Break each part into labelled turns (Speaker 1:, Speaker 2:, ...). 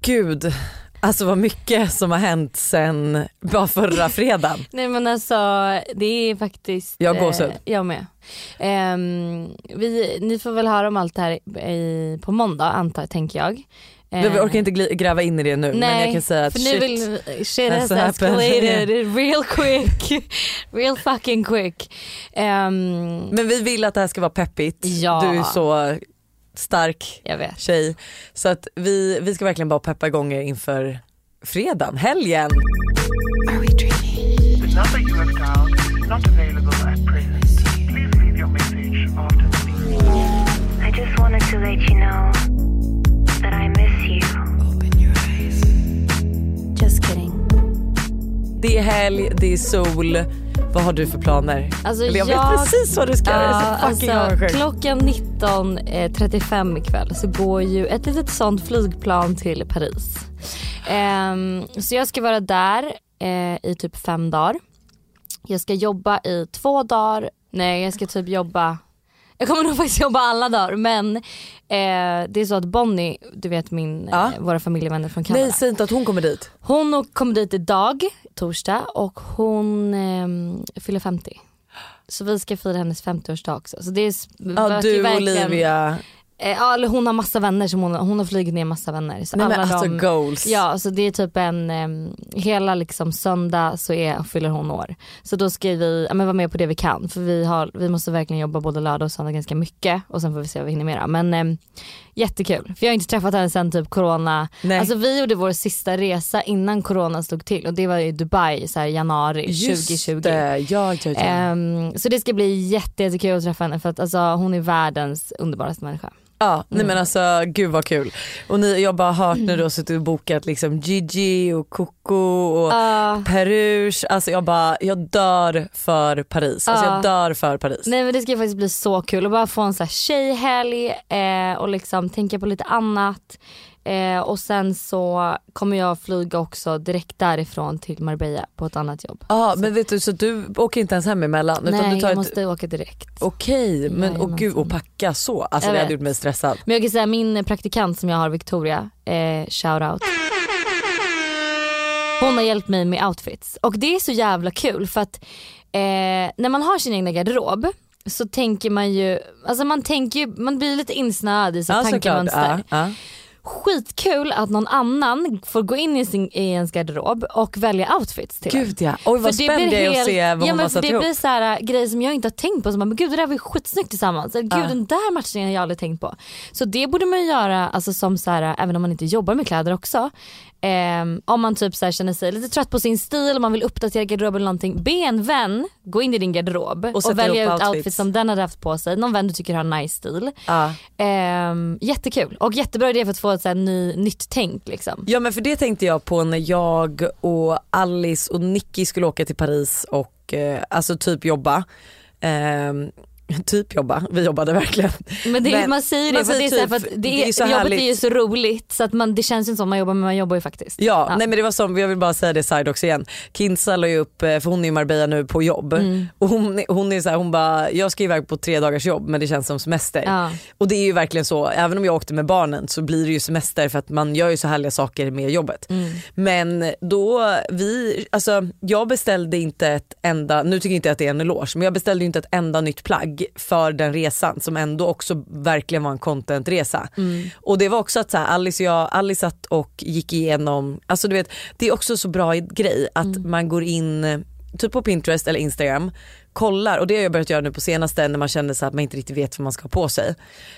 Speaker 1: gud, alltså vad mycket som har hänt sen bara förra fredagen.
Speaker 2: Nej men alltså det är faktiskt.
Speaker 1: Jag har gåshud.
Speaker 2: Eh, jag med. Ehm, vi, ni får väl höra om allt det här i, på måndag antar tänker jag.
Speaker 1: Vi orkar inte gli- gräva in i det nu men
Speaker 2: Eh. nej,
Speaker 1: jag kan säga att
Speaker 2: För
Speaker 1: shit,
Speaker 2: nu vill, shit
Speaker 1: has
Speaker 2: has escalated real quick. real fucking quick. Ehm,
Speaker 1: men vi vill att det här ska vara peppigt.
Speaker 2: Ja.
Speaker 1: Du är så stark
Speaker 2: jag vet.
Speaker 1: tjej. Så att vi, vi ska verkligen bara peppa igång er inför fredagen, helgen.
Speaker 3: The number you have dialed is not available at present. Please leave your message after the beep.
Speaker 4: I just wanted to let you know that I miss you. Open your eyes. Just kidding.
Speaker 1: Det är helg, det är sol. Vad har du för planer?
Speaker 2: Alltså,
Speaker 1: Eller jag,
Speaker 2: jag-
Speaker 1: vet precis vad du ska göra.
Speaker 2: Ja,
Speaker 1: Jag är så fucking
Speaker 2: alltså,
Speaker 1: avundsjuk.
Speaker 2: klockan 19.35 ikväll så går ju ett litet sånt flygplan till Paris. Ehm, så jag ska vara där eh, i typ fem dagar. Jag ska jobba i två dagar. Nej jag ska typ jobba jag kommer nog faktiskt jobba alla dagar men eh, det är så att Bonnie, du vet min,
Speaker 1: Ja.
Speaker 2: eh, våra familjevänner från Kanada.
Speaker 1: Nej säg inte att hon kommer dit.
Speaker 2: Hon kom dit idag, torsdag, och hon ehm, fyller 50. Så vi ska fira hennes 50-årsdag också. Så det är s-
Speaker 1: Ja,
Speaker 2: verkar ju
Speaker 1: du
Speaker 2: verkligen-
Speaker 1: Olivia.
Speaker 2: Eh, ja, eller hon har massa vänner, som hon, hon har flugit ner massa vänner. Så
Speaker 1: Nej, men
Speaker 2: alla
Speaker 1: alltså
Speaker 2: de,
Speaker 1: goals.
Speaker 2: Ja, så det är typ en, ehm, hela liksom söndag så är, fyller hon år. Så då ska vi ja, men vara med på det vi kan för vi, har, vi måste verkligen jobba både lördag och söndag ganska mycket och sen får vi se vad vi hinner med då. Men ehm, jättekul, för jag har inte träffat henne sen typ corona.
Speaker 1: Nej.
Speaker 2: Alltså vi gjorde vår sista resa innan corona slog till och det var i Dubai så här, i januari
Speaker 1: Just
Speaker 2: 2020.
Speaker 1: det, ja, ja, ja.
Speaker 2: Ehm, så det ska bli jätte- jättekul att träffa henne för att alltså, hon är världens underbaraste människa.
Speaker 1: Ja,
Speaker 2: Mm.
Speaker 1: nej men alltså gud vad kul. Och ni, jag har bara hört när du har suttit och bokat liksom Gigi och Coco och
Speaker 2: Ja.
Speaker 1: Peruge. Alltså jag bara, jag dör för Paris. Alltså
Speaker 2: Ja.
Speaker 1: jag dör för Paris.
Speaker 2: Nej men det ska faktiskt bli så kul och bara få en så här tjejhelg eh, och liksom tänka på lite annat. Eh, och sen så kommer jag flyga också direkt därifrån till Marbella på ett annat jobb.
Speaker 1: Ja men vet du så du åker inte ens hem emellan utan
Speaker 2: Nej
Speaker 1: du tar
Speaker 2: jag
Speaker 1: ett,
Speaker 2: måste åka direkt.
Speaker 1: okej men och
Speaker 2: Jajamensan.
Speaker 1: gud och packa så. Alltså
Speaker 2: Jag
Speaker 1: det
Speaker 2: vet.
Speaker 1: hade gjort mig stressad.
Speaker 2: Men jag kan säga min praktikant som jag har Victoria, eh, shout out. Hon har hjälpt mig med outfits och det är så jävla kul för att eh, när man har sin egna garderob så tänker man ju, alltså man tänker ju, man blir lite insnöad i sitt
Speaker 1: Ja såklart.
Speaker 2: tankemönster.
Speaker 1: Ja, ja.
Speaker 2: skitkul att någon annan får gå in i, sin, i ens garderob och välja outfits till en.
Speaker 1: Gud ja. Oj vad
Speaker 2: det
Speaker 1: spänd
Speaker 2: blir
Speaker 1: jag är att
Speaker 2: helt-
Speaker 1: se vad
Speaker 2: ja,
Speaker 1: hon
Speaker 2: men
Speaker 1: har
Speaker 2: för
Speaker 1: satt
Speaker 2: Det
Speaker 1: ihop.
Speaker 2: blir så här, äh, grejer som jag inte har tänkt på. Som bara, men gud det där var ju skitsnyggt tillsammans. Eller, gud
Speaker 1: Ja.
Speaker 2: den där matchningen har jag aldrig tänkt på. Så det borde man ju göra alltså, som så här, även om man inte jobbar med kläder också. Ehm, om man typ så här, känner sig lite trött på sin stil och man vill uppdatera garderoben eller någonting. Be en vän gå in i din garderob och,
Speaker 1: sätta
Speaker 2: välja ut
Speaker 1: ihop
Speaker 2: outfits.
Speaker 1: outfits
Speaker 2: som den hade haft på sig. Någon vän du tycker har nice stil.
Speaker 1: Ja.
Speaker 2: Ehm, jättekul och jättebra idé för att få ett så här, ny, nytt tänk liksom.
Speaker 1: Ja men för det tänkte jag på när jag och Alice och Nicky skulle åka till Paris och eh, alltså typ jobba. Ehm, typ jobba, vi jobbade verkligen.
Speaker 2: Men, det,
Speaker 1: Men-
Speaker 2: man säger det
Speaker 1: man
Speaker 2: för att det är
Speaker 1: säger
Speaker 2: så här,
Speaker 1: typ,
Speaker 2: för att det,
Speaker 1: det är
Speaker 2: är,
Speaker 1: så
Speaker 2: jobbet
Speaker 1: härligt.
Speaker 2: är ju så roligt så att man, det känns ju inte som man jobbar men man jobbar ju faktiskt.
Speaker 1: Ja,
Speaker 2: Ja.
Speaker 1: nej men det var som, jag vill bara säga det side också igen. Kinsa la ju upp, eh, för hon är i Marbella nu på jobb och hon, är- hon är så här, hon bara jag ska iväg på tre dagars jobb men det känns som semester.
Speaker 2: Ja.
Speaker 1: Och det är ju verkligen så, även om jag åkte med barnen så blir det ju semester för att man gör ju så härliga saker med jobbet. Men då vi, alltså jag beställde inte ett enda, nu tycker jag inte att det är en eloge, men jag beställde ju inte ett enda nytt plagg för den resan som ändå också verkligen var en contentresa. Och det var också att så här, Alice och jag, Alice satt och gick igenom, alltså du vet det är också så bra grej att man går in typ på Pinterest eller Instagram kollar och det har jag börjat göra nu på senaste när man känner så här att man inte riktigt vet vad man ska ha på sig.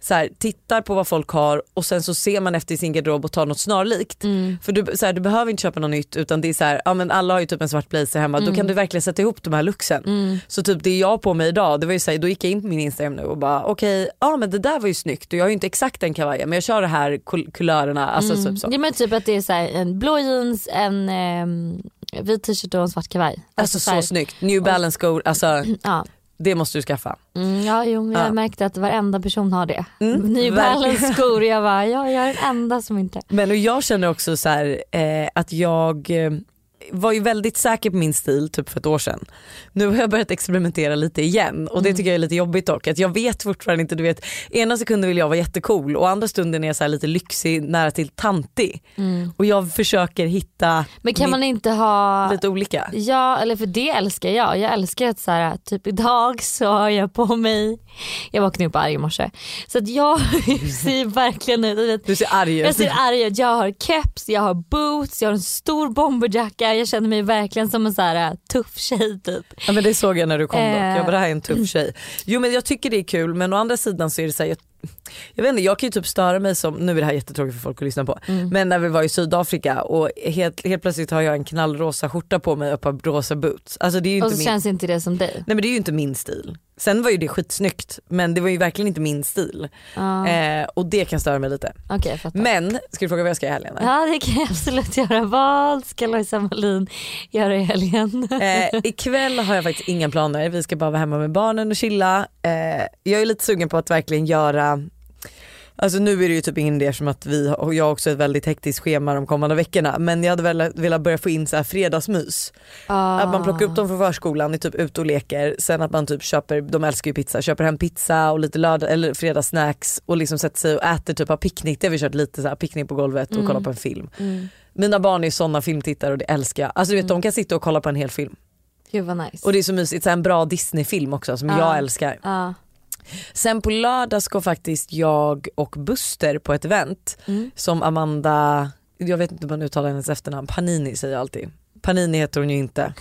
Speaker 1: Så här, tittar på vad folk har och sen så ser man efter i sin garderob och tar något snarlikt.
Speaker 2: Mm.
Speaker 1: För du, så här, du behöver inte köpa något nytt utan det är så här, ja, men alla har ju typ en svart blazer hemma då kan
Speaker 2: Mm.
Speaker 1: du verkligen sätta ihop de här looksen. Så typ det jag har på mig idag, det var ju så här, då gick jag in på min Instagram nu och bara okej, ja men det där var ju snyggt och jag har ju inte exakt den kavajen men jag kör de här kul- kulörerna. Alltså, typ så.
Speaker 2: Det är men typ att det är så här, en blå jeans, en ehm, vit t-shirt och en svart kavaj.
Speaker 1: Alltså
Speaker 2: här-
Speaker 1: så snyggt, new balance skor, alltså
Speaker 2: Ja,
Speaker 1: det måste du skaffa.
Speaker 2: mm, ja Mm, jo, jag
Speaker 1: Ja.
Speaker 2: märkte att varenda person har det. New
Speaker 1: verkligen.
Speaker 2: Balance skor jag bara, ja, jag är den enda som inte.
Speaker 1: Men och jag känner också så här, eh, att jag eh, var ju väldigt säker på min stil typ för ett år sedan. Nu har jag börjat experimentera lite igen
Speaker 2: Mm.
Speaker 1: och det tycker jag är lite jobbigt dock. Att jag vet fortfarande inte, du vet ena sekunden vill jag vara jättecool och andra stunden är jag så här lite lyxig, nära till tantig. Och jag försöker hitta
Speaker 2: Mm. Men kan man inte ha...
Speaker 1: lite olika.
Speaker 2: Ja, eller för det älskar jag. Jag älskar att så här, typ idag så har jag på mig, jag vaknade upp arg i morse. Så att jag ser verkligen ut, du vet,
Speaker 1: Du ser arg
Speaker 2: jag
Speaker 1: ut.
Speaker 2: ser arg ut, jag har keps, jag har boots, jag har en stor bomberjacka. Jag känner mig verkligen som en så här äh, tuff tjej typ.
Speaker 1: Ja, men det såg jag när du kom dock.
Speaker 2: Eh.
Speaker 1: Jag bara det här är en tuff tjej. Jo men jag tycker det är kul men å andra sidan så är det så här, jag, jag vet inte jag kan ju typ störa mig som, nu är det här jättetråkigt för folk att lyssna på,
Speaker 2: Mm.
Speaker 1: men när vi var i Sydafrika och helt, helt plötsligt har jag en knallrosa skjorta på mig och ett par rosa boots. Alltså det är ju
Speaker 2: Och
Speaker 1: inte
Speaker 2: så
Speaker 1: min,
Speaker 2: känns inte det som dig.
Speaker 1: nej men det är ju inte min stil. Sen var ju det skitsnyggt men det var ju verkligen inte min stil. Eh, och det kan störa mig lite.
Speaker 2: Okej jag fattar.
Speaker 1: Men, ska du fråga vad jag ska i helgen?
Speaker 2: Ja det kan jag absolut göra. Vad ska Lojsan Wallin göra i helgen?
Speaker 1: Eh, ikväll har jag faktiskt inga planer. Vi ska bara vara hemma med barnen och chilla. Eh, jag är lite sugen på att verkligen göra Alltså nu är det ju typ ingen idé som att vi och jag har också ett väldigt hektiskt schema de kommande veckorna men jag hade väl velat börja få in så här fredagsmys. Att man plockar upp dem från förskolan, är typ ute och leker sen att man typ köper, de älskar ju pizza, köper hem pizza och lite lördag, eller fredagssnacks och liksom sätter sig och äter typ av picknick, det har vi kört lite så här picknick på golvet och kollar på en film.
Speaker 2: Ah, mm.
Speaker 1: Mina barn är sådana filmtittare och det älskar jag. Alltså du vet de kan sitta och kolla på en hel film.
Speaker 2: Gud vad nice.
Speaker 1: Och det är så mysigt, så här en bra Disney-film också som jag älskar.
Speaker 2: Ja.
Speaker 1: Sen på lördag ska faktiskt jag och Buster på ett event
Speaker 2: Mm.
Speaker 1: som Amanda, jag vet inte hur man uttalar hennes efternamn, Panini säger jag alltid. Panini heter hon ju inte.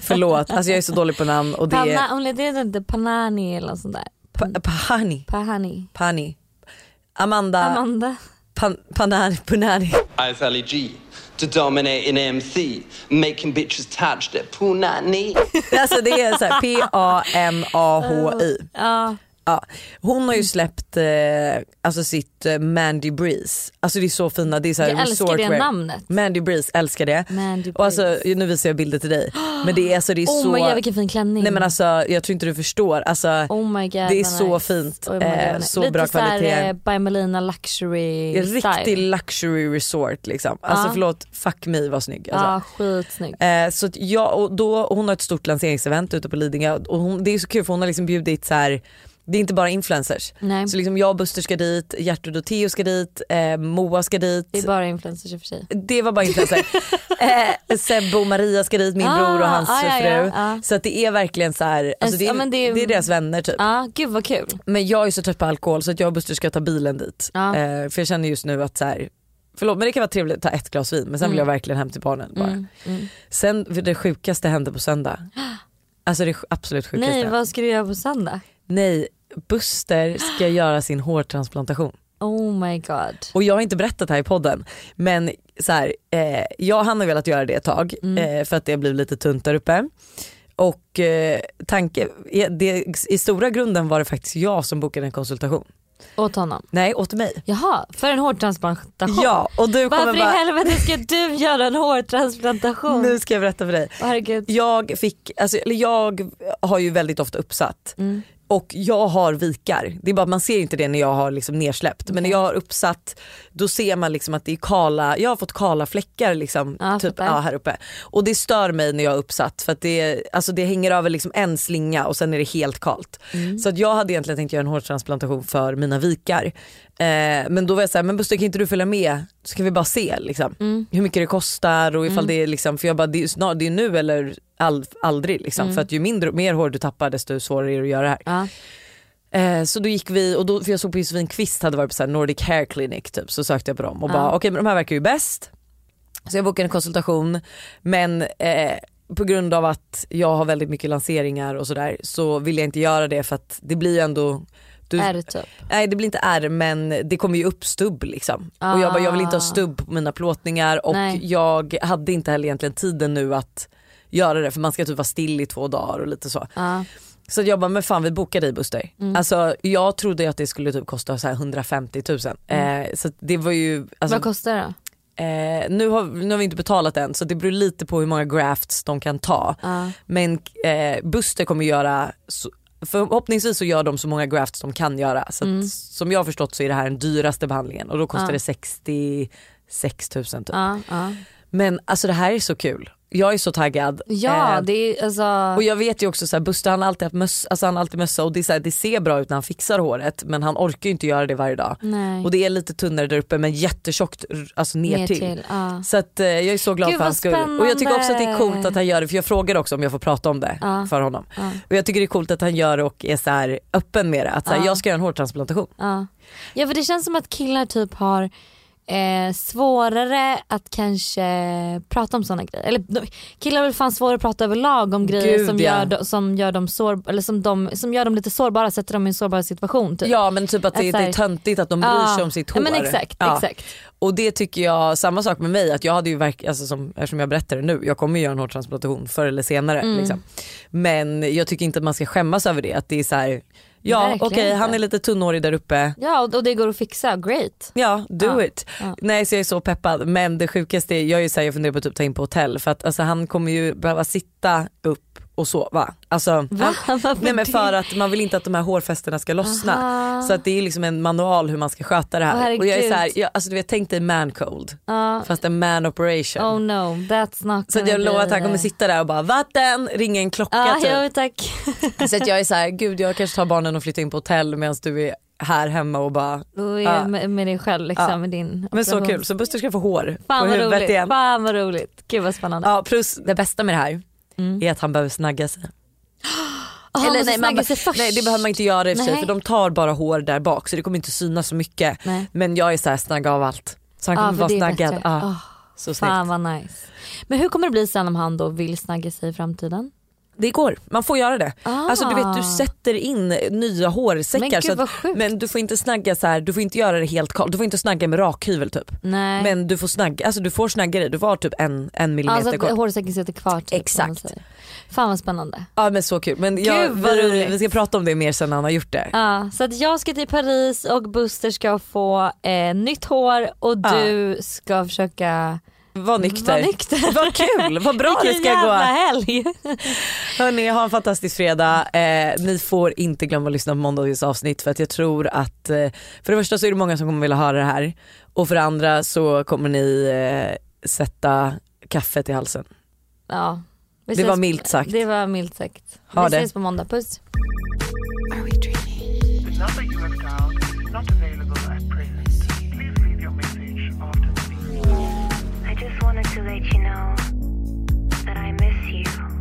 Speaker 1: Förlåt, alltså jag är så dålig på namn och det är
Speaker 2: Panna, hon heter inte Panani eller något sånt där.
Speaker 1: pa- Pahani,
Speaker 2: Pahani.
Speaker 1: Pani. Amanda,
Speaker 2: Amanda.
Speaker 1: Pan, Panani, Punani.
Speaker 5: I've Ali E G to dominate an MC, making bitches touch their punani.
Speaker 1: Alltså det är så här P-A-M-A-H-I.
Speaker 2: Ja.
Speaker 1: Ja. Hon har ju släppt eh, alltså sitt eh, Mandy Breeze, alltså det är så fina, det är så här
Speaker 2: Jag älskar det
Speaker 1: resortwear.
Speaker 2: namnet.
Speaker 1: Mandy Breeze, älskar det.
Speaker 2: Mandy
Speaker 1: och alltså,
Speaker 2: Breeze.
Speaker 1: nu visar jag bilder till dig. Men det är, alltså, det är
Speaker 2: Oh
Speaker 1: så...
Speaker 2: my god vilken fin klänning.
Speaker 1: Nej men alltså jag tror inte du förstår. Alltså,
Speaker 2: Oh my god,
Speaker 1: det är
Speaker 2: vad
Speaker 1: så
Speaker 2: nice.
Speaker 1: fint,
Speaker 2: Oh my god, vad
Speaker 1: eh,
Speaker 2: nice.
Speaker 1: så
Speaker 2: Lite
Speaker 1: bra
Speaker 2: så här,
Speaker 1: kvalitet.
Speaker 2: eh, by Melina luxury
Speaker 1: en riktig
Speaker 2: style.
Speaker 1: luxury resort liksom. Alltså förlåt, fuck me vad snygg. Alltså.
Speaker 2: Ja skitsnygg.
Speaker 1: Eh, så att jag, och då, hon har ett stort lanseringsevent ute på Lidingö och hon, det är så kul för hon har liksom bjudit så här. Det är inte bara influencers.
Speaker 2: Nej.
Speaker 1: Så liksom jag och Buster ska dit, Gertrud och Theo ska dit, eh, Moa ska dit.
Speaker 2: Det är bara influencers i och för sig.
Speaker 1: Det var bara influencer. eh, Sebbe och Maria ska dit, min
Speaker 2: Ah,
Speaker 1: bror och hans
Speaker 2: ah, ja,
Speaker 1: fru.
Speaker 2: ja, ja.
Speaker 1: Så att det är verkligen så här, alltså det, är,
Speaker 2: ja, men det är-
Speaker 1: det är deras vänner typ.
Speaker 2: Ja Ah, gud vad kul.
Speaker 1: Men jag är så trött på alkohol så att jag och Buster ska ta bilen dit.
Speaker 2: Ja.
Speaker 1: Eh, för jag känner just nu att så här, förlåt men det kan vara trevligt att ta ett glas vin men sen vill
Speaker 2: Mm.
Speaker 1: jag verkligen hem till barnen bara. Sen det sjukaste hände på söndag. Alltså det sj- absolut sjukaste.
Speaker 2: Nej vad ska du göra på söndag?
Speaker 1: Nej Buster ska göra sin hårtransplantation.
Speaker 2: Oh my god.
Speaker 1: Och jag har inte berättat det här i podden men så här, eh, jag och han har velat göra det ett tag
Speaker 2: Mm.
Speaker 1: eh, för att det blev lite tunt där uppe. Och eh, tanke, i- det, i stora grunden var det faktiskt jag som bokade en konsultation.
Speaker 2: Åt honom.
Speaker 1: Nej åt mig.
Speaker 2: Jaha för en hårtransplantation.
Speaker 1: Ja och du kommer
Speaker 2: Varför i
Speaker 1: bara,
Speaker 2: helvete ska du göra en hårtransplantation?
Speaker 1: nu ska jag berätta för dig.
Speaker 2: Åh, herregud.
Speaker 1: Jag fick, alltså, eller jag har ju väldigt ofta uppsatt
Speaker 2: Mm.
Speaker 1: och jag har vikar. Det är bara att man ser inte det när jag har liksom nersläppt men när jag har uppsatt då ser man liksom att det är kala, jag har fått kala fläckar liksom,
Speaker 2: Ja,
Speaker 1: typ,
Speaker 2: fattar.
Speaker 1: ja, här uppe. Och det stör mig när jag har uppsatt för att det, alltså, det hänger över liksom en slinga och sen är det helt kalt. Så att jag hade egentligen tänkt göra en hårtransplantation för mina vikar. Eh, men då var jag såhär, men Buster kan inte du följa med så kan vi bara se liksom, hur mycket det kostar och ifall det är liksom, för jag bara det är, snar, det är nu eller all, aldrig liksom. För att ju mindre, mer hår du tappar desto svårare är det att göra det här.
Speaker 2: Ja.
Speaker 1: Eh, så då gick vi, och då, för jag såg på Josefin Kvist hade varit på så här Nordic Hair Clinic typ, så sökte jag på dem och bara okej men de här verkar ju bäst. Så jag bokade en konsultation men eh, på grund av att jag har väldigt mycket lanseringar och sådär så vill jag inte göra det för att det blir ju ändå du,
Speaker 2: Är det typ?
Speaker 1: Nej det blir inte ärr men det kommer ju upp stubb liksom. Och jag bara jag vill inte ha stubb på mina plåtningar och
Speaker 2: Nej.
Speaker 1: jag hade inte heller egentligen tiden nu att göra det för man ska typ vara still i två dagar och lite så.
Speaker 2: Ja.
Speaker 1: Så jag bara, men fan vi bokar dig Buster.
Speaker 2: Mm.
Speaker 1: Alltså jag trodde ju att det skulle typ kosta så här 150 000. Eh, så att det var ju, alltså,
Speaker 2: Mm. Vad kostar det då?
Speaker 1: eh, nu, har, nu har vi inte betalat än så det beror lite på hur många grafts de kan ta. Men eh, Buster kommer göra, så, förhoppningsvis så gör de så många grafts de kan göra. Så att,
Speaker 2: Mm.
Speaker 1: som jag har förstått så är det här den dyraste behandlingen och då kostar det 66 000 typ.
Speaker 2: Ja, ja.
Speaker 1: Men alltså det här är så kul. Jag är så taggad.
Speaker 2: Ja,
Speaker 1: Eh,
Speaker 2: det är alltså...
Speaker 1: och jag vet ju också så här, Buster han har alltid haft möss, alltså han har alltid mössa och det, är så här, det ser bra ut när han fixar håret men han orkar ju inte göra det varje dag.
Speaker 2: Nej.
Speaker 1: Och det är lite tunnare där uppe men jättetjockt r- alltså ner,
Speaker 2: Ner
Speaker 1: till.
Speaker 2: till, ja.
Speaker 1: Så att, eh, jag är så glad
Speaker 2: Gud,
Speaker 1: för
Speaker 2: vad
Speaker 1: hans skull. Och jag tycker också att det är coolt
Speaker 2: spännande.
Speaker 1: att han gör det för jag frågar också om jag får prata om det
Speaker 2: Ja.
Speaker 1: för honom.
Speaker 2: Ja.
Speaker 1: Och jag tycker det är coolt att han gör det och är så här öppen med det. Att så här,
Speaker 2: Ja.
Speaker 1: jag ska göra en hårtransplantation.
Speaker 2: Ja. ja för det känns som att killar typ har eh, svårare att kanske prata om sådana grejer. Eller de, killar är väl fan svårare att prata överlag om grejer
Speaker 1: Gud,
Speaker 2: som,
Speaker 1: ja.
Speaker 2: gör, de- som, gör dem sår, eller som, de, som gör dem lite sårbara, sätter dem i en sårbar situation. Typ.
Speaker 1: Ja men typ att det,
Speaker 2: Att så här-
Speaker 1: det är töntigt att de bryr
Speaker 2: Ja.
Speaker 1: sig om sitt
Speaker 2: Ja,
Speaker 1: hår.
Speaker 2: men exakt,
Speaker 1: Ja.
Speaker 2: exakt.
Speaker 1: Och det tycker jag, samma sak med mig, att jag hade ju verk, alltså som, eftersom jag berättar det nu, jag kommer ju göra en hårtransplantation förr eller senare.
Speaker 2: Mm.
Speaker 1: Liksom. Men jag tycker inte att man ska skämmas över det, att det är så här, ja
Speaker 2: Verkligen
Speaker 1: okej han
Speaker 2: inte.
Speaker 1: är lite tunnhårig där uppe,
Speaker 2: Ja och, och det går att fixa, great.
Speaker 1: Ja, do
Speaker 2: Ja,
Speaker 1: it.
Speaker 2: ja.
Speaker 1: Nej så jag är så peppad. Men det sjukaste är, jag är ju så här, jag funderar på att typ ta in på hotell för att alltså, han kommer ju behöva sitta upp och sova. Alltså,
Speaker 2: Va?
Speaker 1: Han,
Speaker 2: Varför
Speaker 1: nej men
Speaker 2: det?
Speaker 1: för att man vill inte att de här hårfästena ska lossna.
Speaker 2: Aha.
Speaker 1: Så att det är liksom en manual hur man ska sköta det
Speaker 2: Åh,
Speaker 1: här.
Speaker 2: herregud.
Speaker 1: och jag är så här, jag, alltså du vet tänk dig man cold
Speaker 2: Ja.
Speaker 1: fast en man operation.
Speaker 2: oh no, that's not
Speaker 1: så att jag
Speaker 2: gonna
Speaker 1: lovar
Speaker 2: be-
Speaker 1: att han kommer sitta där och bara vatten, ringa en klocka
Speaker 2: Ja,
Speaker 1: typ.
Speaker 2: jo, tack.
Speaker 1: Så att jag är så här, gud jag kanske tar barnen och flyttar in på hotell medan du är här hemma och bara
Speaker 2: Och
Speaker 1: Ja.
Speaker 2: är med, med dig själv liksom, med din
Speaker 1: men så
Speaker 2: operation.
Speaker 1: kul, så Buster ska få hår
Speaker 2: Fan
Speaker 1: på
Speaker 2: vad
Speaker 1: huvudet
Speaker 2: roligt.
Speaker 1: igen.
Speaker 2: Fan vad roligt. Gud vad spännande.
Speaker 1: Ja, plus det bästa med det här är att han behöver snagga sig.
Speaker 2: Aha, man Mm. Ah, måste
Speaker 1: nej, man
Speaker 2: snagga
Speaker 1: be-
Speaker 2: sig först.
Speaker 1: nej det behöver man inte göra i och för sig
Speaker 2: Nej.
Speaker 1: för de tar bara hår där bak så det kommer inte synas så mycket.
Speaker 2: Nej.
Speaker 1: Men jag är såhär snagga av allt. Så han
Speaker 2: Ja,
Speaker 1: kommer
Speaker 2: för
Speaker 1: vara
Speaker 2: det är
Speaker 1: snaggad.
Speaker 2: bättre. Ah.
Speaker 1: Ja,
Speaker 2: Åh,
Speaker 1: så snyggt.
Speaker 2: Fan vad nice. Men hur kommer det bli sen om han då vill snagga sig i framtiden?
Speaker 1: Det går, man får göra det.
Speaker 2: Ah.
Speaker 1: Alltså du vet du sätter in nya hårsäckar
Speaker 2: Men gud,
Speaker 1: så att-
Speaker 2: vad sjukt.
Speaker 1: men du får inte snagga så här, du får inte göra det helt kalt, du får inte snagga med rakhyvel typ.
Speaker 2: Nej.
Speaker 1: Men du får snagga, alltså du får snagga dig, du får ha typ en, en millimeter
Speaker 2: alltså att
Speaker 1: kort.
Speaker 2: hårsäcken sitter kvar typ,
Speaker 1: Exakt.
Speaker 2: om man säger. Fan vad spännande.
Speaker 1: Ja men så kul. Men jag,
Speaker 2: Gud, vad
Speaker 1: vi,
Speaker 2: roligt. Ah.
Speaker 1: vi ska prata om det mer sen han har gjort det.
Speaker 2: Ja, så att jag ska till Paris och Buster ska få eh, nytt hår och
Speaker 1: Ja.
Speaker 2: du ska försöka
Speaker 1: Var nykter.
Speaker 2: vara nykter.
Speaker 1: Vad kul, vad bra det
Speaker 2: Vilken
Speaker 1: ska
Speaker 2: jävla
Speaker 1: gå.
Speaker 2: helg.
Speaker 1: Hörni, ha en fantastisk fredag. Eh, ni får inte glömma att lyssna på måndagens avsnitt för att jag tror att eh, för det första så är det många som kommer vilja höra det här och för det andra så kommer ni eh, sätta kaffet i halsen.
Speaker 2: Ja. Vi
Speaker 1: Det
Speaker 2: ses-
Speaker 1: var milt sagt.
Speaker 2: Det var milt sagt.
Speaker 1: Ha
Speaker 2: Vi
Speaker 1: det.
Speaker 2: ses på måndag, puss.
Speaker 3: The number you have dialed is not available at present. Please leave your message after the beep.
Speaker 4: I just wanted to let you know that I miss you.